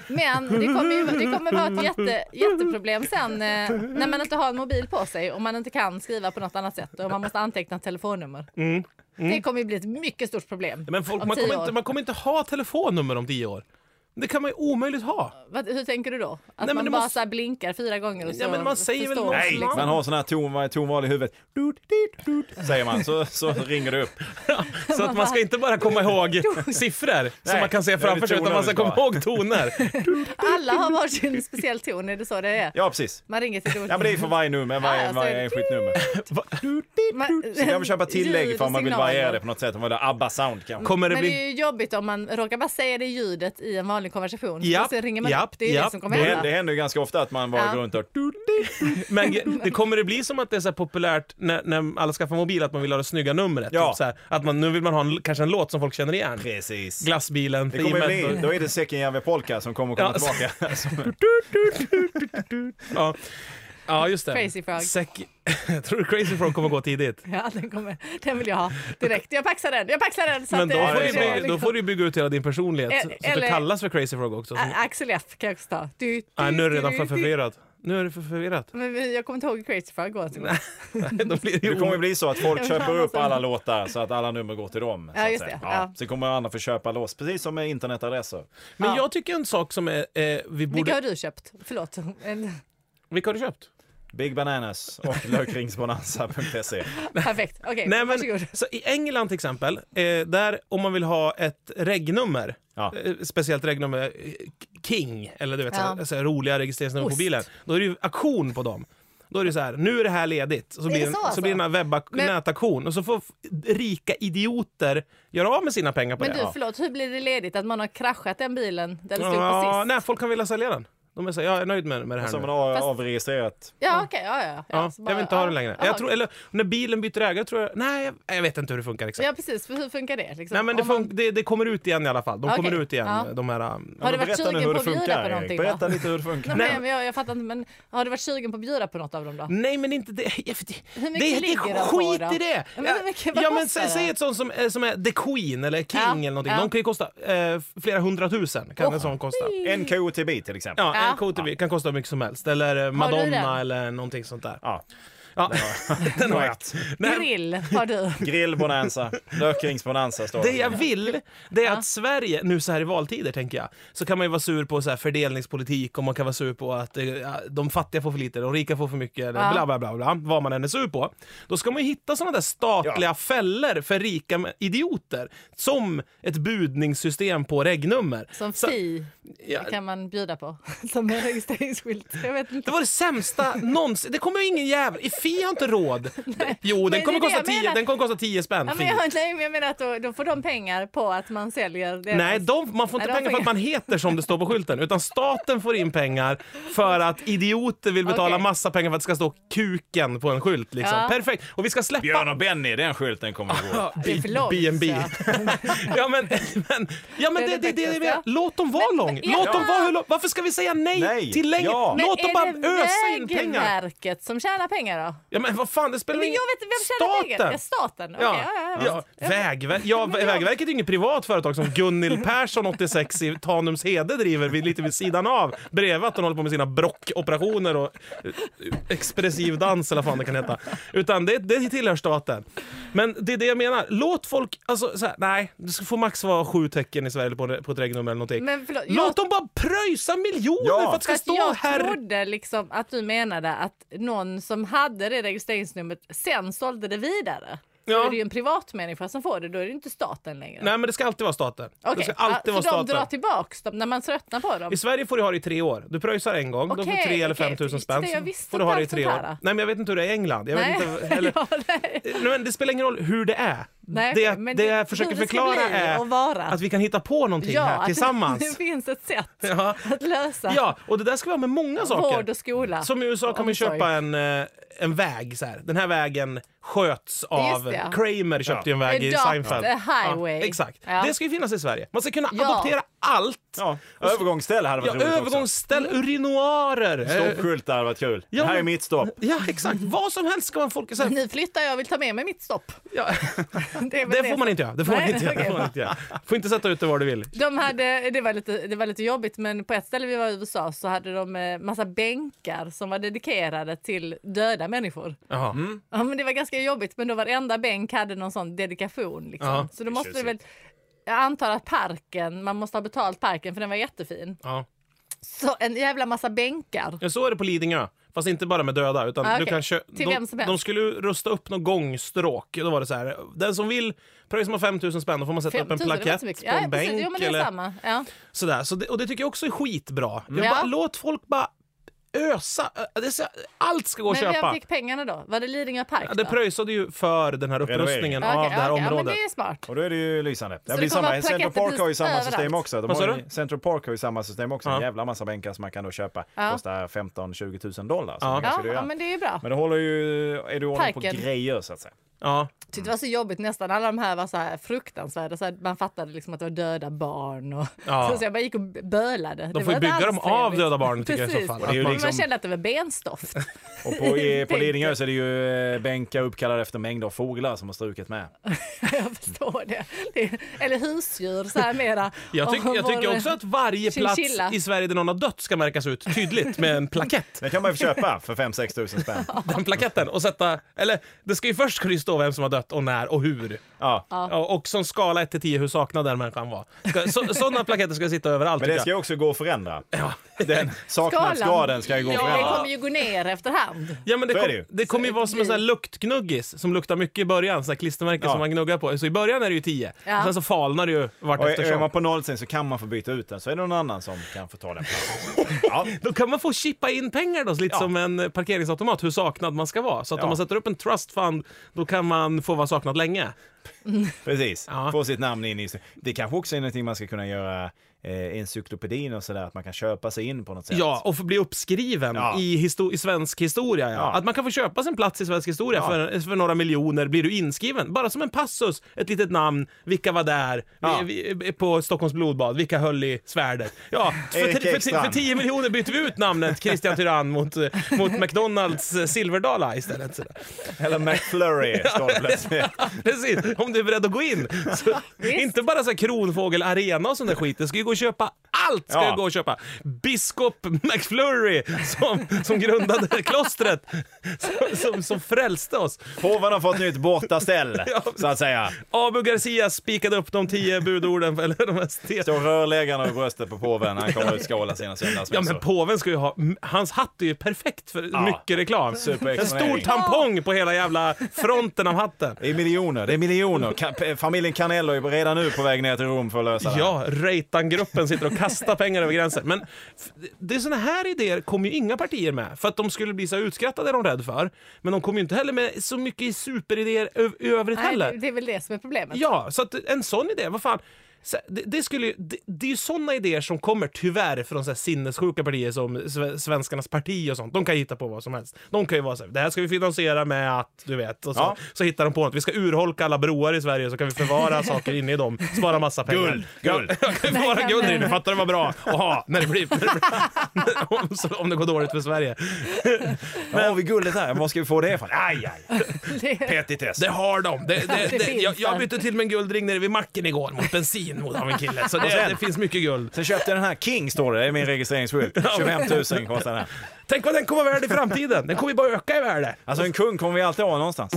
C: Men det kommer, ju, det kommer vara ett jätte, jätteproblem sen eh, när man inte har en mobil på sig och man inte kan skriva på något annat sätt och man måste anteckna ett telefonnummer. Det kommer ju bli ett mycket stort problem.
B: Mm. Men folk,
C: om
B: man,
C: tio
B: kommer
C: år.
B: inte, man kommer inte ha telefonnummer om 10 år. Det kan man ju omöjligt ha.
C: Vad, hur tänker du då? Att
B: men
C: man
B: det
C: bara
B: måste-
C: så här blinkar fyra gånger och så
B: Ja, men man säger väl
C: förstår
B: något
C: man.
B: Nej,
D: Man har sån här ton, tonval i huvudet. Dut, dit, dut, säger man, så, så ringer det upp.
B: Så att man ska inte bara komma ihåg siffror som
D: Nej,
B: man kan se
D: det är
B: framför sig,
D: toner
B: utan man ska
D: vi ska
B: komma
D: ha.
B: ihåg toner.
C: Alla har varsin speciell ton, är det så det är?
D: Ja, precis.
C: Man ringer till olika...
D: Ja, men det är för varje nummer,
C: Ja,
D: varje,
C: så är
D: varje
C: det.
D: enskilt nummer.
C: Man-
D: Så kan man köpa tillägg
C: Ljud
D: ifall
C: och
D: man vill
C: signaler. Mm.
D: variera det på något sätt. Om man vill ha ABBA-sound kanske.
B: Kommer det
C: Men
B: bli...
C: det är ju jobbigt om man råkar bara säga det ljudet i en vanlig konversation.
B: Japp,
C: och sen ringer man
B: japp,
C: upp. Det är ju
B: japp.
C: det som kommer
D: Det,
C: hända.
D: händer- det händer ju ganska ofta att man bara
C: Ja.
D: går runt och...
B: Men ge- det kommer det bli som att det är så här populärt när, när alla skaffar mobil att man vill ha det snygga numret?
D: Ja.
B: Typ så här, att man, nu vill man ha en, kanske en låt som folk känner igen.
D: Precis.
B: Glassbilen,
D: Det kommer
B: Thimen.
D: bli, då är det Säckenjärvi Polka som kommer komma
B: Ja, så-
D: tillbaka. Som-
B: Ja. ja, just det.
C: Crazy Frog.
B: Säck... Tror du Crazy Frog kommer gå tidigt?
C: Ja, den, kommer, den vill jag ha direkt. Jag paxar den. Jag paxar den. Så
B: Men
C: att,
B: då
C: eh,
B: får,
D: det
B: du,
D: är
C: det- Eh,
B: bygga- då får du bygga ut hela din personlighet så att du
C: Eller- Ah,
B: kallas för Crazy Frog också.
C: Ä- Axel F kan jag också ta. Du, du,
B: Nej, nu är det redan
C: du,
B: för
C: du.
B: förvirrat. Nu är det för förvirrat.
C: Men vi- jag kommer inte ihåg hur Crazy Frog går. till.
B: Då blir det
D: Det
B: ju
D: kommer ju bli så att folk
C: Jag vill ha
D: köper upp
C: massa-
D: alla låtar så att alla nummer går till dem. så
C: Ja,
D: att
C: just
D: säga.
C: det. Ja.
D: Så kommer andra få köpa loss, precis som med internetadresser.
B: Men
C: Ja.
B: jag tycker en sak som är, eh, vi borde...
C: Vilka har
B: Vilka...
C: du köpt? Förlåt. En-
B: Vilka har du köpt?
D: Big Bananas och lökringsbonanza.se.
C: Perfekt. Okej,
B: Nej, men,
C: varsågod.
B: så I England till exempel, eh, där om man vill ha ett regnummer,
D: Ja.
B: eh, speciellt regnummer eh, King, eller du vet,
C: Ja.
B: så här, så här roliga registreringsnummer på
C: Ost.
B: bilen, då är det ju auktion på dem. Då är det så här, nu är det här ledigt. Så blir,
C: det
B: en,
C: så
B: så,
C: alltså?
B: blir det en webba-
C: Men-
B: nätauktion och så får f- rika idioter göra av med sina pengar på
C: Men
B: det.
C: du, förlåt. Hur blir det ledigt att man har kraschat den bilen där det stod
B: Ja,
C: på sist?
B: nej, folk kan vilja sälja den. De är så, här, ja, jag är nöjd med, med det här
D: Som man
B: nu.
D: har
C: Fast-
D: avregistrerat.
C: Ja, okej. ja, ja,
B: Ja,
C: Så bara,
B: jag vill inte ha
C: ja,
B: det längre.
C: ja,
B: Jag tror, eller, när bilen byter ägare tror jag... Nej, jag, jag vet inte hur det funkar exakt.
C: Ja, precis. För hur funkar det? Liksom?
B: Nej, men det,
C: Om man-
B: fun- det, det kommer ut igen i alla fall. De
C: Okej,
B: kommer ut igen,
C: ja.
B: de här... um,
C: Har du
D: Men
C: varit
D: berätta nu
C: sugen
D: hur
C: på
D: det
C: att bjuda på
D: funkar,
C: någonting?
D: Erik.
C: då?
D: Berätta lite hur det funkar.
C: Nej,
B: Nej.
C: men jag, jag fattar inte. Men har du varit sugen på att bjuda på något av dem då?
B: Nej, men inte det. Jag vet inte.
C: Hur mycket
B: det, det
C: ligger de på
B: skit
C: då?
B: i det!
C: Ja, men hur mycket- vad
B: ja, men
C: kostar
B: sä,
C: det?
B: säg ett sånt som, eh, som är The Queen eller King
C: Ja,
B: eller någonting.
C: ja.
B: De kan ju kosta eh, flera hundratusen. Kan en sån kosta.
D: En KOTB till exempel.
B: Ja, en
C: Ja.
B: KTV kan kosta hur mycket som helst. Eller eh,
C: du den?
B: Madonna eller någonting sånt där.
D: Ja.
B: Ja, den har jag. Nej,
C: Grill har du.
D: Grillbonanza, lökringsbonanza står
B: Det jag vill, det är att Sverige, nu så här i valtider tänker jag, så kan man ju vara sur på så här fördelningspolitik och man kan vara sur på att eh, ja, de fattiga får för lite, de rika får för mycket, eller
C: Ja.
B: bla bla bla, bla vad man än är sur på. Då ska man ju hitta sådana där statliga fällor för rika m- idioter. Som ett budningssystem på regnummer.
C: Som
B: Så-
C: fi
B: Ja,
C: kan man bjuda på. Som en registreringsskylt. Jag vet inte.
B: det var det sämsta någonsin. Det kommer ju ingen jävel... I Fi har inte råd. Jo,
C: men
B: den
C: det
B: kommer,
C: är det
B: kosta
C: jag
B: tio,
C: menar.
B: den kommer kosta 10 spänn.
C: Ja,
B: Fi.
C: men jag, nej, men jag menar att då, då får de pengar på att man säljer deras.
B: Nej, de, man får inte
C: Eh,
B: pengar
C: alltså, Nej, de får
B: för att man heter som det står på skylten. Utan staten får in pengar för att idioter vill betala
C: Okej.
B: massa pengar för att det ska stå kuken på en skylt. Liksom.
C: Ja.
B: Perfekt! Och vi ska släppa...
D: Björn och Benny, den skylten kommer att gå.
C: Det är för långt,
B: B&B.
C: ja.
B: ja, men, men, ja, men
C: är
B: det, det,
C: det
B: det, det,
C: faktiskt, ja.
B: Låt dem vara
C: Men-
B: lång!
C: men-
B: Låt
C: ja.
B: dem vara hur lång. Varför ska vi säga nej,
D: Nej,
B: till längre?
D: ja. Men
B: Låt dem bara ösa in
C: Är det
B: pengar!
C: Vägverket som tjänar pengar då?
B: Ja, men vad fan, det spelar
C: Men jag
B: ingen-
C: vet vem tjänar pengar? Ja, staten. Okej,
B: Ja.
C: ja, ja,
B: Ja, Vägver- ja, Vä- Vägverket är ju inget privat företag som Gunnil Persson, 86, i Tanumshede driver vid, lite vid sidan av. Bredvid att hon håller på med sina brockoperationer och eh, expressiv dans eller vad fan det kan heta. Utan det, det tillhör staten. Men det är det jag menar. Låt folk... Alltså, så här, nej, det ska få max vara sju tecken i Sverige på, på ett regnummer eller någonting.
C: Men förlåt, jag-
B: Låt dem bara pröjsa miljoner
D: Ja.
B: för att det ska
C: Fast
B: stå
C: jag
B: här...
C: trodde liksom att du menade att någon som hade det registreringsnumret sen sålde det vidare. Då
B: Ja.
C: är det ju en privatmänniska som får det, då är det inte staten längre.
B: Nej, men det ska alltid vara staten. Det
C: Okej,
B: ska alltid
C: ja,
B: vara
C: så de
B: staten.
C: drar tillbaks dem när man tröttnar på dem?
B: I Sverige får du ha det i tre år. Du pröjsar en gång, då får du
C: Okej,
B: tre eller
C: okej.
B: fem tusen
C: Så det-
B: spänn.
C: jag visste
B: får du ha
C: inte
B: det i
C: allt
B: tre
C: sånt
B: år.
C: här, då.
B: Nej, men jag vet inte hur det är i England. Jag
C: Nej.
B: vet inte, eller,
C: Ja, nej.
B: Nej, men det spelar ingen roll hur det är.
C: Nej,
B: det jag,
C: men
B: det
C: det-
B: jag försöker
C: hur det ska
B: förklara
C: bli och
B: är
C: vara.
B: att vi kan hitta på någonting
C: Ja,
B: här
C: att
B: tillsammans.
C: Det finns ett sätt
B: Ja.
C: att lösa
B: ja, och det där ska vi ha med många
C: vård
B: saker.
C: och skola.
B: Som i USA kan man
C: Omsorg.
B: köpa en, eh, en väg så här. Den här vägen sköts av...
C: Just det, ja.
B: Kramer köpte ju en väg i
C: Adopt
B: Seinfeld.
C: a highway.
B: Ja, exakt.
C: Ja.
B: Det ska ju finnas i Sverige. Man ska kunna
C: Ja.
B: adoptera allt.
D: Ja, övergångsställe hade
B: Ja,
D: varit roligt också.
B: övergångsställ,
C: Mm.
B: urinoarer. eh,
D: Stoppskylt hade varit kul.
B: Ja,
D: det här är
B: men-
D: mitt stopp.
B: Ja, exakt.
C: Mm.
B: Vad som helst ska man folk... Så här,
C: Nu flyttar jag och vill ta med mig mitt stopp.
B: ja,
C: Det, är väl
B: det får man inte göra. Det får man
C: Nej,
B: inte göra. Det
C: okej.
B: får man inte göra. Får inte sätta ut det var du vill.
C: De hade, det, var lite, det var lite jobbigt, men på ett ställe vi var i USA så hade de eh, massa bänkar som var dedikerade till döda människor.
B: Jaha.
C: Ja, men det var ganska jobbigt, men då varenda bänk hade någon sån dedikation. Liksom.
B: Ja.
C: Så då måste det väl... Jag antar att parken, man måste ha betalt parken för den var jättefin.
B: Ja.
C: Så en jävla massa bänkar.
B: Ja, så är det på Lidingö. Fast inte bara med döda. Utan
C: Ah,
B: du
C: okej.
B: kan kö-
C: Till
B: de,
C: vem som helst.
B: de skulle ju rusta upp någon gångstråk. Då var det så här. Den som vill pröjsa med 5 000 spänn, då får man sätta upp en
C: 5000, det var
B: plakett
C: inte mycket.
B: på en
C: ja,
B: bänk.
C: Precis, jo, men det är
B: eller
C: samma. Ja.
B: sådär. Så det, och det tycker jag också är skitbra. Jag
C: Ja.
B: bara, låt folk bara ösa. Ö- det är så- Allt ska gå att
C: Men vem
B: köpa.
C: fick pengarna då? Var det Lidingö park?
B: Ja, det
C: då?
B: pröjsade ju för den här
D: Renovering.
B: upprustningen
C: Ja, okej,
B: av det här
C: ja, okej.
B: området.
C: Ja, men det är smart.
D: Och då är det ju lysande. Det blir
C: det kommer
D: samma.
C: vara
D: Central
C: plaketter
D: Park har ju
C: precis
D: samma system
C: överallt.
D: också. De
B: Vad
D: har
B: sa
D: ju,
B: du?
D: Central Park har ju samma system också.
B: Ja.
D: En jävla massa bänkar som man kan då köpa.
C: Ja.
D: Kostar 15-20 tusen dollar. Så
B: Ja.
D: det
C: Ja,
D: kanske du
C: ja,
D: gör.
C: men det är ju bra.
D: Men det håller ju... Är du ordning på
C: Parken.
D: grejer så att säga.
B: Ja.
C: tyckte det var så jobbigt nästan. Alla de här var så här fruktansvärda. Så här, man fattade liksom att det var döda barn. Och,
B: Ja.
C: så, så jag bara gick och bölade.
B: De får ju bygga dem av döda barn tycker jag i så
D: Och
B: fall.
D: det är
B: Att
D: ju
B: man-
D: liksom-
C: Man kände att det var benstoft.
D: Och på, i, på Lidingö så är det ju eh, bänkar uppkallade efter mängder av fåglar som har strukit med.
C: jag förstår det. det är, eller husdjur så här mera.
B: Jag, tyck,
C: Och
B: jag tycker
C: vår-
B: också att varje plats
C: Chinchilla.
B: i Sverige där någon har dött ska märkas ut tydligt med en plakett.
D: Den kan man ju få köpa för 5-6 tusen spänn.
B: Den plaketten och sätta, eller det ska ju först ska det ju stå vem som har dött och när och hur.
D: Ja.
B: Ja. Och som skala 1 till 10 hur saknad den människan var. Ska, så, sådana plaketter ska sitta överallt.
D: Men det ska
B: tycker
D: ju också gå att förändra.
B: jag.
D: Den saknadsgraden ska ju gå att
C: Ja, det kommer
D: förändra.
C: ju gå ner efterhand.
B: Ja, men det,
D: Så är
B: kom,
D: det ju.
B: det, kommer ju vara som en sån här luktknuggis som luktar mycket i början, sån här klistermärke
D: Ja.
B: som man gnuggar på. Så i början är det ju 10,
C: Ja.
B: sen så falnar det ju vart
D: Och är är man
B: eftersom.
D: på nollsen så kan man få byta ut den, så är det någon annan som kan få ta den platsen. Ja.
B: Då kan man få chippa in pengar då, så lite
D: Ja.
B: som en parkeringsautomat, hur saknad man ska vara. Så att
D: Ja.
B: om man sätter upp en trust fund, då kan man få vara saknad länge.
D: Precis,
B: Ja.
D: få sitt namn in i... Det kanske också är någonting man ska kunna göra eh, encyklopedin och sådär, att man kan köpa sig in på något sätt.
B: Ja, och få bli uppskriven
D: Ja.
B: i, histo- i svensk historia. Ja.
D: Ja.
B: Att man kan få köpa sin plats i svensk historia
D: Ja.
B: för, för några miljoner blir du inskriven. Bara som en passus, ett litet namn, vilka var där
D: Ja.
B: vi, vi, på Stockholms blodbad, vilka höll i svärdet. Ja, för,
D: Erik
B: för, för,
D: Ekstrand.
B: för 10 miljoner byter vi ut namnet Christian Tyrann mot, eh, mot McDonalds eh, Silverdala istället. Sådär.
D: Eller McFlurry står det plötsligt.
B: Precis, om du är beredd att gå in. Så, inte bara så här Kronfågel Arena och sån där skit. Det ska ju gå och köpa allt. Ska
D: Ja.
B: jag gå och köpa. Biskop McFlurry som, som grundade klostret. Som, som, som frälste oss.
D: Påven har fått nytt bortaställ,
B: Ja.
D: så att säga.
B: Abu Garcia spikade upp de tio budorden. Eller de här sten-
D: Står rörläggaren och bröstet på påven, han kommer ut skåla sina söndagsmässor.
B: Ja men påven ska ju ha, hans hatt är ju perfekt för mycket reklam. En stor
D: Superexponering.
B: tampong på hela jävla fronten av hatten.
D: Det är miljoner, det är miljoner. Ka- p- Familjen Canello är redan nu på väg ner till Rom för att lösa det. här.
B: Ja, Reitan-gruppen sitter och kastar pengar över gränsen. Men f- det är såna här idéer kommer ju inga partier med. För att de skulle bli så utskrattade är de rädd för. Men de kommer ju inte heller med så mycket superidéer ö- i övrigt
C: Nej,
B: heller.
C: det, det är väl det som är problemet.
B: Ja, så att en sån idé, vad fan. Så- Det, det, skulle, ju- det, det är ju såna idéer som kommer tyvärr från så här sinnessjuka partier som sve- Svenskarnas parti och sånt. De kan ju hitta på vad som helst. De kan ju vara så här, det här ska vi finansiera med att, du vet. Och så,
D: Ja.
B: så hittar de på något. Vi ska urholka alla broar i Sverige så kan vi förvara saker inne i dem. Spara massa pengar.
D: Guld, guld.
B: Ja, kan vi förvara guld i det, fattar du vad bra att ha när det blir... När det blir om, så- om det går dåligt för Sverige.
D: Men har vi guldet här? Var ska vi få det ifrån? Aj, aj.
C: Det,
D: Petitess.
B: Det har de. Det, det,
C: Det
B: det,
C: finns
B: jag, jag
C: där.
B: bytte till mig en guldring nere vid macken igår mot bensin mot av en kille. Så
D: Och
B: det,
D: sen-
B: det finns mycket guld.
D: Sen köpte jag den här King, står det. Det är min registreringsskylt. 25 000 kostar den här.
B: Tänk vad den kommer vara värd i framtiden. Den kommer ju bara öka i värde.
D: Alltså en kung kommer vi alltid ha någonstans.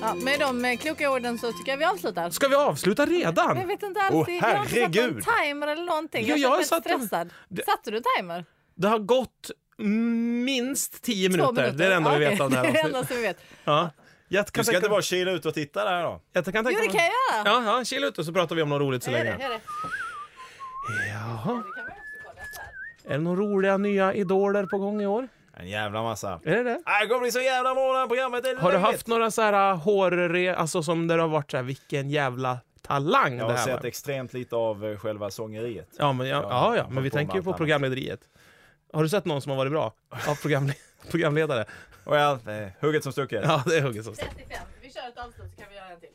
C: ja, med de eh, kloka orden så tycker jag vi avslutar.
B: Ska vi avsluta
C: Jag
B: redan?
C: vet inte alls.
D: Åh,
C: det- jag har inte satt någon
D: herregud.
C: timer eller någonting.
B: Jo,
C: Jag,
B: jag
C: jag känner
B: satte-
C: mig stressad. Satte du timer?
B: Det har gått minst 10
C: Två
B: minuter. Det är det enda
C: Ja,
B: vi
C: okej.
B: vet om det här
C: Det är det
B: avsnittet.
C: enda som vi vet.
B: Ja. Jag kan
D: Du ska
B: tänka-
D: inte bara kila ut och titta där då?
B: jag kan tänka
C: Jo, det
B: mig-
C: kan jag göra.
B: Ja, ja, kila ut och så pratar vi om något roligt så
C: Gör det,
B: länge.
C: gör det.
B: Jaha. Är det några roliga nya idoler på gång i år?
D: En jävla massa.
B: Är det det?
D: Nej, Det kommer bli så jävla bra det här programmet. det är
B: Eh. Har du
D: löjligt.
B: haft några så här äh, hårre, alltså som där det har varit så här, vilken jävla talang
D: Jag
B: det
D: har
B: här
D: sett
B: var.
D: extremt lite av eh, själva sångeriet.
B: Ja, men, ja, ja,
D: Ja,
B: ja, men vi
D: på med
B: tänker ju
D: allt
B: på
D: annat.
B: programlederiet. Har du sett någon som har varit bra? Ja, programle- programledare.
D: Och ja, eh, hugget som stucket.
B: Ja, det är hugget som stucket.
C: 35. Vi kör ett avslut så kan vi göra en till.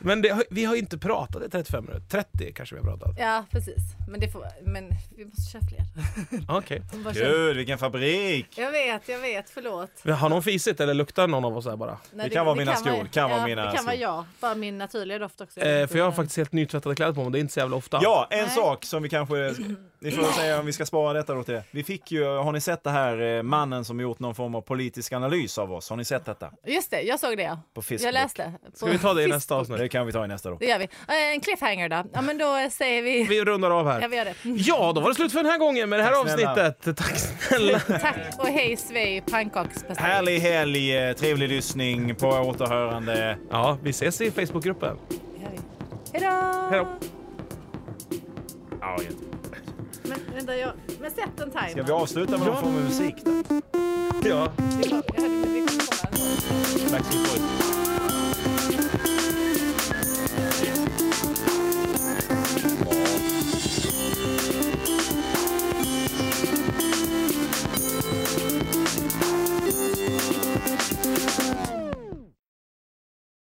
B: Men det, har- vi har ju inte pratat i 35 minuter. 30 kanske vi har pratat.
C: Ja, precis. Men, det får, men vi måste köra fler.
B: Ja, Okej.
C: Bara köra.
D: Gud, vilken fabrik!
C: Jag vet, jag vet. Förlåt.
B: Men Har någon fisit eller luktar någon av oss här bara?
C: Nej,
D: Det kan vara mina skor, kan vara
C: ja,
D: mina
C: Det kan vara
D: skor.
C: jag. Bara min naturliga doft också. vet
B: Eh,
C: inte
B: för jag har
C: hur-
B: faktiskt helt nytvättade kläder på mig. Det är inte så jävla ofta.
D: Ja, en
C: Nej.
D: sak som vi kanske... Vi får säga om vi ska spara detta då till det. Vi fick ju, har ni sett det här eh, mannen som gjort någon form av politisk analys av oss? Har ni sett detta?
C: Just det, jag såg det ja.
D: På Facebook.
C: Jag läste.
B: Ska vi ta det i nästa avsnitt?
D: Det kan vi ta i nästa då.
C: Det gör vi. Eh, En cliffhanger då. Ja, men då eh, säger vi...
B: Vi rundar av
C: Ja,
B: här.
C: vi gör det.
B: Ja, då var det slut för den här gången med det här
D: Tack snälla.
B: avsnittet. Tack snälla.
C: Tack och hej svej pannkakspastej.
D: Härlig helg, eh, trevlig lyssning, på återhörande.
B: Ja, vi ses i Facebookgruppen.
C: Det gör vi. Hejdå!
B: Hej då.
D: Ja,
C: Men vänta, jag... Men sätt en timer.
D: Ska vi avsluta med någon form av musik? Då?
B: Ja.
C: Jag hade blivit förvånad.
D: Backstreet Boys.